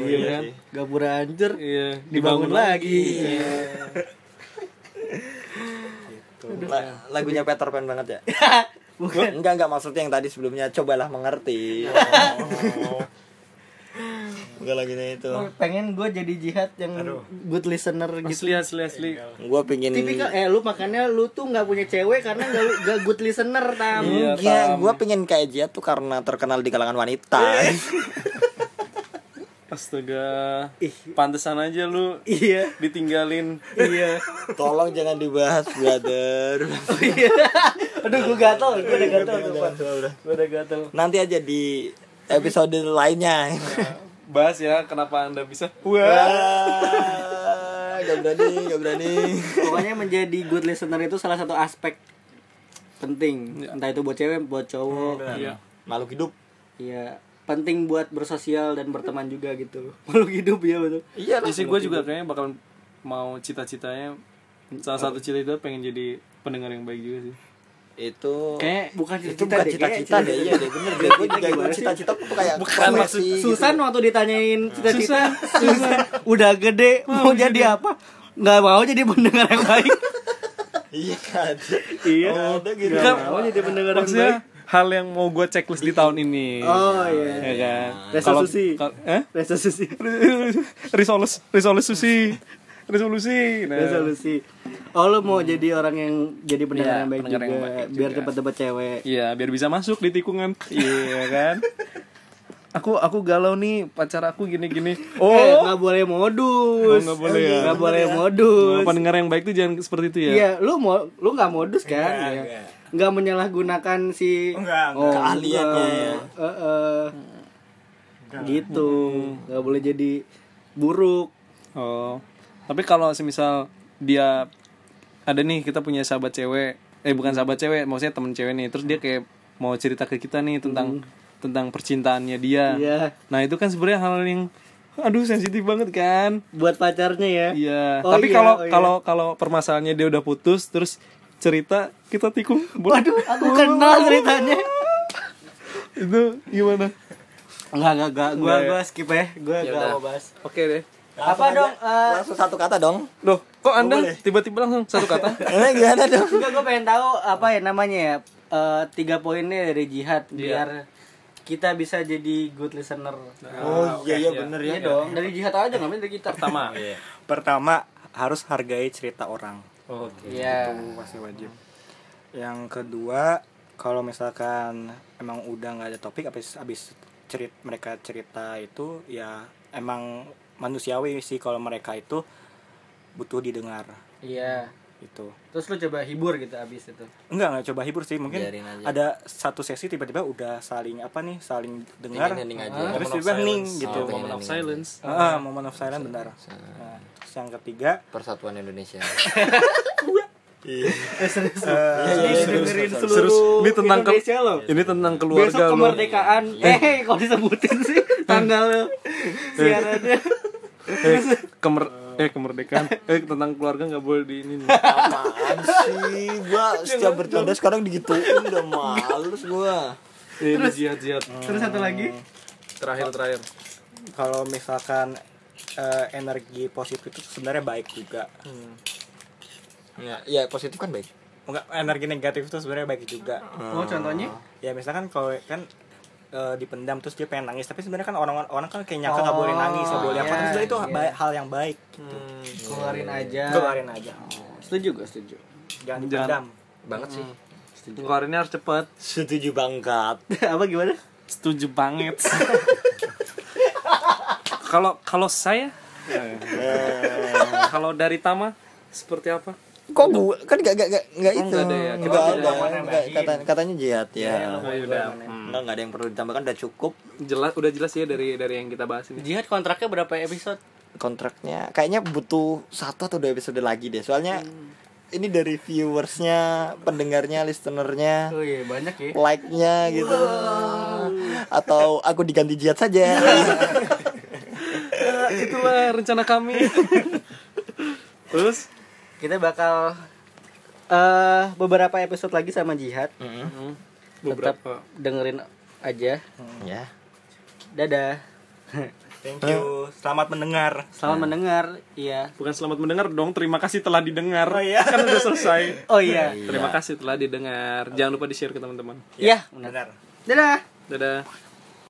[SPEAKER 5] Iya kan? Gapura hancur
[SPEAKER 3] Iya,
[SPEAKER 5] dibangun lagi.
[SPEAKER 4] La- lagunya Peter Pan banget ya? Eh, Enggak enggak maksudnya yang tadi sebelumnya cobalah mengerti. Enggak lagunya itu.
[SPEAKER 5] Gua Pengen gue jadi jihad yang good listener gitu.
[SPEAKER 3] Asli asli asli.
[SPEAKER 4] Gua pingin
[SPEAKER 5] Tipikal eh lu makanya lu tuh nggak punya cewek karena nggak lu- nggak good listener tam.
[SPEAKER 4] Iya, gua pengen kayak dia tuh karena terkenal di kalangan wanita.
[SPEAKER 3] Astaga. Pantesan aja lu
[SPEAKER 5] Iya.
[SPEAKER 3] ditinggalin.
[SPEAKER 5] Iya.
[SPEAKER 4] Tolong jangan dibahas, brother.
[SPEAKER 5] Aduh gue gatel, gue udah gatel tuh. Pan.
[SPEAKER 4] Udah.
[SPEAKER 5] Gue udah gatel.
[SPEAKER 4] Nanti aja di episode lainnya.
[SPEAKER 3] Bahas ya kenapa Anda bisa. Wah.
[SPEAKER 4] Ah, Gak berani, gak berani.
[SPEAKER 5] Pokoknya menjadi good listener itu salah satu aspek penting.
[SPEAKER 4] Iya.
[SPEAKER 5] Entah itu buat cewek, buat cowok.
[SPEAKER 3] Iya.
[SPEAKER 4] Makhluk hidup.
[SPEAKER 5] Iya. Penting buat bersosial dan berteman juga gitu. Makhluk hidup ya betul.
[SPEAKER 4] Iya
[SPEAKER 3] Isi gue juga kayaknya bakal mau cita-citanya salah satu cita itu pengen jadi pendengar yang baik juga sih.
[SPEAKER 4] Itu
[SPEAKER 5] Kayak bukan
[SPEAKER 4] itu bukan cita-cita deh iya deh bener deh gue juga gue cita-cita tuh kayak bukan maksud
[SPEAKER 5] Susan waktu ditanyain cita-cita, Susan udah gede mau jadi apa? Nggak mau jadi pendengar yang baik.
[SPEAKER 4] iya kan
[SPEAKER 5] iya.
[SPEAKER 4] Oh, udah gitu
[SPEAKER 5] Nggak mau jadi pendengar yang baik.
[SPEAKER 3] Kan? Maksudnya hal yang mau gue checklist di tahun ini.
[SPEAKER 5] Oh iya.
[SPEAKER 3] Ya kan.
[SPEAKER 5] Resolusi.
[SPEAKER 3] Kalau- eh?
[SPEAKER 5] Resolusi.
[SPEAKER 3] Risolus, resolusi. Resolusi. Nah.
[SPEAKER 5] Resolusi. Oh lu mau jadi orang yang jadi pendengar
[SPEAKER 3] Iya,
[SPEAKER 5] yang baik
[SPEAKER 3] pendengar
[SPEAKER 5] juga,
[SPEAKER 3] yang baik juga.
[SPEAKER 5] biar tempat-tempat cewek.
[SPEAKER 3] Iya, biar bisa masuk di tikungan. Iya kan? Aku aku galau nih pacar aku gini-gini.
[SPEAKER 5] Oh, eh,
[SPEAKER 3] Oh,
[SPEAKER 5] nggak boleh modus.
[SPEAKER 3] Oh, nggak boleh ya.
[SPEAKER 5] Nggak boleh modus.
[SPEAKER 3] pendengar yang baik tuh jangan seperti itu ya.
[SPEAKER 5] Iya, lu mau lu nggak modus kan? Iya. Nggak menyalahgunakan si
[SPEAKER 6] Enggak,
[SPEAKER 5] oh,
[SPEAKER 4] keahliannya
[SPEAKER 5] enggak.
[SPEAKER 4] ya.
[SPEAKER 5] Heeh. Gitu. Nggak boleh jadi buruk.
[SPEAKER 3] Oh. Tapi kalau semisal dia ada nih kita punya sahabat cewek, eh bukan sahabat cewek, maksudnya temen cewek nih. Terus dia kayak mau cerita ke kita nih tentang tentang percintaannya dia.
[SPEAKER 5] Hmm. Iya.
[SPEAKER 3] Nah, itu kan sebenarnya hal yang aduh sensitif banget kan.
[SPEAKER 5] Buat pacarnya ya.
[SPEAKER 3] Iya.
[SPEAKER 5] Oh,
[SPEAKER 3] Tapi
[SPEAKER 5] iya,
[SPEAKER 3] kalau
[SPEAKER 5] oh, iya.
[SPEAKER 3] kalau kalau permasalahannya dia udah putus terus cerita kita tikung. Waduh,
[SPEAKER 5] Aku kenal ceritanya.
[SPEAKER 3] itu gimana?
[SPEAKER 5] Enggak, enggak, enggak. Gua gua skip ya. Gua enggak mau bahas.
[SPEAKER 3] Oke deh.
[SPEAKER 5] Apa dong? eh,
[SPEAKER 4] langsung satu kata dong
[SPEAKER 3] Loh, kok Anda tiba-tiba langsung satu kata?
[SPEAKER 4] eh gimana dong
[SPEAKER 5] Enggak, gue pengen tahu apa ya namanya ya eh, tiga poinnya dari jihad biar kita bisa jadi good listener.
[SPEAKER 4] oh iya iya bener
[SPEAKER 5] iya dong, dari jihad aja nggak dari kita. Iya. Pertama.
[SPEAKER 6] Pertama, harus hargai cerita orang.
[SPEAKER 3] Oh,
[SPEAKER 5] Iya.
[SPEAKER 6] pasti wajib yang kedua kalau misalkan emang udah nggak ada topik habis habis cerit mereka cerita itu ya emang manusiawi sih kalau mereka itu butuh didengar
[SPEAKER 5] Iya.
[SPEAKER 6] itu
[SPEAKER 5] Terus lu coba hibur gitu abis itu.
[SPEAKER 6] enggak enggak coba hibur sih mungkin
[SPEAKER 4] Biarin aja.
[SPEAKER 6] ada satu sesi tiba-tiba udah saling apa nih saling dengar
[SPEAKER 4] Hening-hening aja.
[SPEAKER 6] Ah,
[SPEAKER 3] Moment of
[SPEAKER 6] terus tiba-tiba hening
[SPEAKER 3] silence.
[SPEAKER 6] gitu
[SPEAKER 4] Oh,
[SPEAKER 3] Moment of silence.
[SPEAKER 6] Ah, ah, moment of silence benar nah, terus yang ketiga
[SPEAKER 4] Persatuan Indonesia.
[SPEAKER 7] Eh,
[SPEAKER 5] Iya, Dengerin seluruh
[SPEAKER 7] Ini tentang ke-
[SPEAKER 5] Indonesia lo.
[SPEAKER 7] ini tentang
[SPEAKER 5] Besok
[SPEAKER 7] keluarga lu.
[SPEAKER 5] kemerdekaan. Eh, kalau disebutin sih tanggal siarannya.
[SPEAKER 7] Eh, kemer- eh, kemerdekaan. Eh tentang keluarga nggak boleh di ini. nih.
[SPEAKER 4] Apaan sih, gua setiap bercanda sekarang digituin udah males gua.
[SPEAKER 7] Eh, ini jihad jihad.
[SPEAKER 5] Terus satu lagi.
[SPEAKER 3] Terakhir terakhir.
[SPEAKER 6] kalau misalkan eh, energi positif itu sebenarnya baik juga
[SPEAKER 4] Ya, ya positif kan baik.
[SPEAKER 6] enggak energi negatif itu sebenarnya baik juga
[SPEAKER 5] Oh, contohnya
[SPEAKER 6] ya misalkan kalau kan eh, dipendam terus dia pengen nangis tapi sebenarnya kan orang orang kan kayak nyangka nggak boleh nangis nggak boleh apa
[SPEAKER 5] iya,
[SPEAKER 6] terus sebenarnya itu
[SPEAKER 5] iya. Hmm,
[SPEAKER 6] ba- hal yang baik gitu
[SPEAKER 5] keluarin aja.
[SPEAKER 6] keluarin aja
[SPEAKER 5] Setuju gua setuju.
[SPEAKER 6] jangan dipendam
[SPEAKER 4] Banget sih.
[SPEAKER 7] Keluarinnya harus cepat.
[SPEAKER 4] Setuju banget.
[SPEAKER 5] Apa gimana?
[SPEAKER 3] Setuju banget. Kalau kalau saya kalau dari Tama seperti apa?
[SPEAKER 4] Kok gua kan gak gak gak, gak itu.
[SPEAKER 3] nggak Iya, ada ya?
[SPEAKER 4] Nggak
[SPEAKER 3] Kita
[SPEAKER 4] ada. Nggak, kata- katanya jihad ya. Enggak nggak ada yang perlu ditambahkan udah cukup
[SPEAKER 3] Jelas udah jelas ya dari dari yang kita bahas ini.
[SPEAKER 5] Jihad kontraknya berapa episode?
[SPEAKER 4] kontraknya. Kayaknya butuh satu atau dua episode lagi deh. Soalnya
[SPEAKER 3] Hmm.
[SPEAKER 4] ini dari viewersnya, pendengarnya, listenernya,
[SPEAKER 5] Oh iya, banyak ya.
[SPEAKER 4] like-nya gitu. Atau aku diganti jihad saja.
[SPEAKER 3] Iya. Itulah rencana kami. Terus
[SPEAKER 5] Kita bakal eh beberapa episode lagi sama Jihad.
[SPEAKER 3] beberapa
[SPEAKER 5] Tetap dengerin aja.
[SPEAKER 4] ya.
[SPEAKER 5] Dadah.
[SPEAKER 6] thank
[SPEAKER 5] Eh?
[SPEAKER 6] you selamat mendengar
[SPEAKER 5] Selamat mendengar. Iya.
[SPEAKER 3] bukan selamat mendengar dong. Terima kasih telah didengar.
[SPEAKER 6] Oh, iya.
[SPEAKER 3] Kan udah selesai.
[SPEAKER 5] Oh iya.
[SPEAKER 3] Terima kasih telah didengar. Jangan lupa di-share ke teman-teman.
[SPEAKER 5] Iya, benar.
[SPEAKER 6] benar
[SPEAKER 5] Dadah.
[SPEAKER 3] Dadah.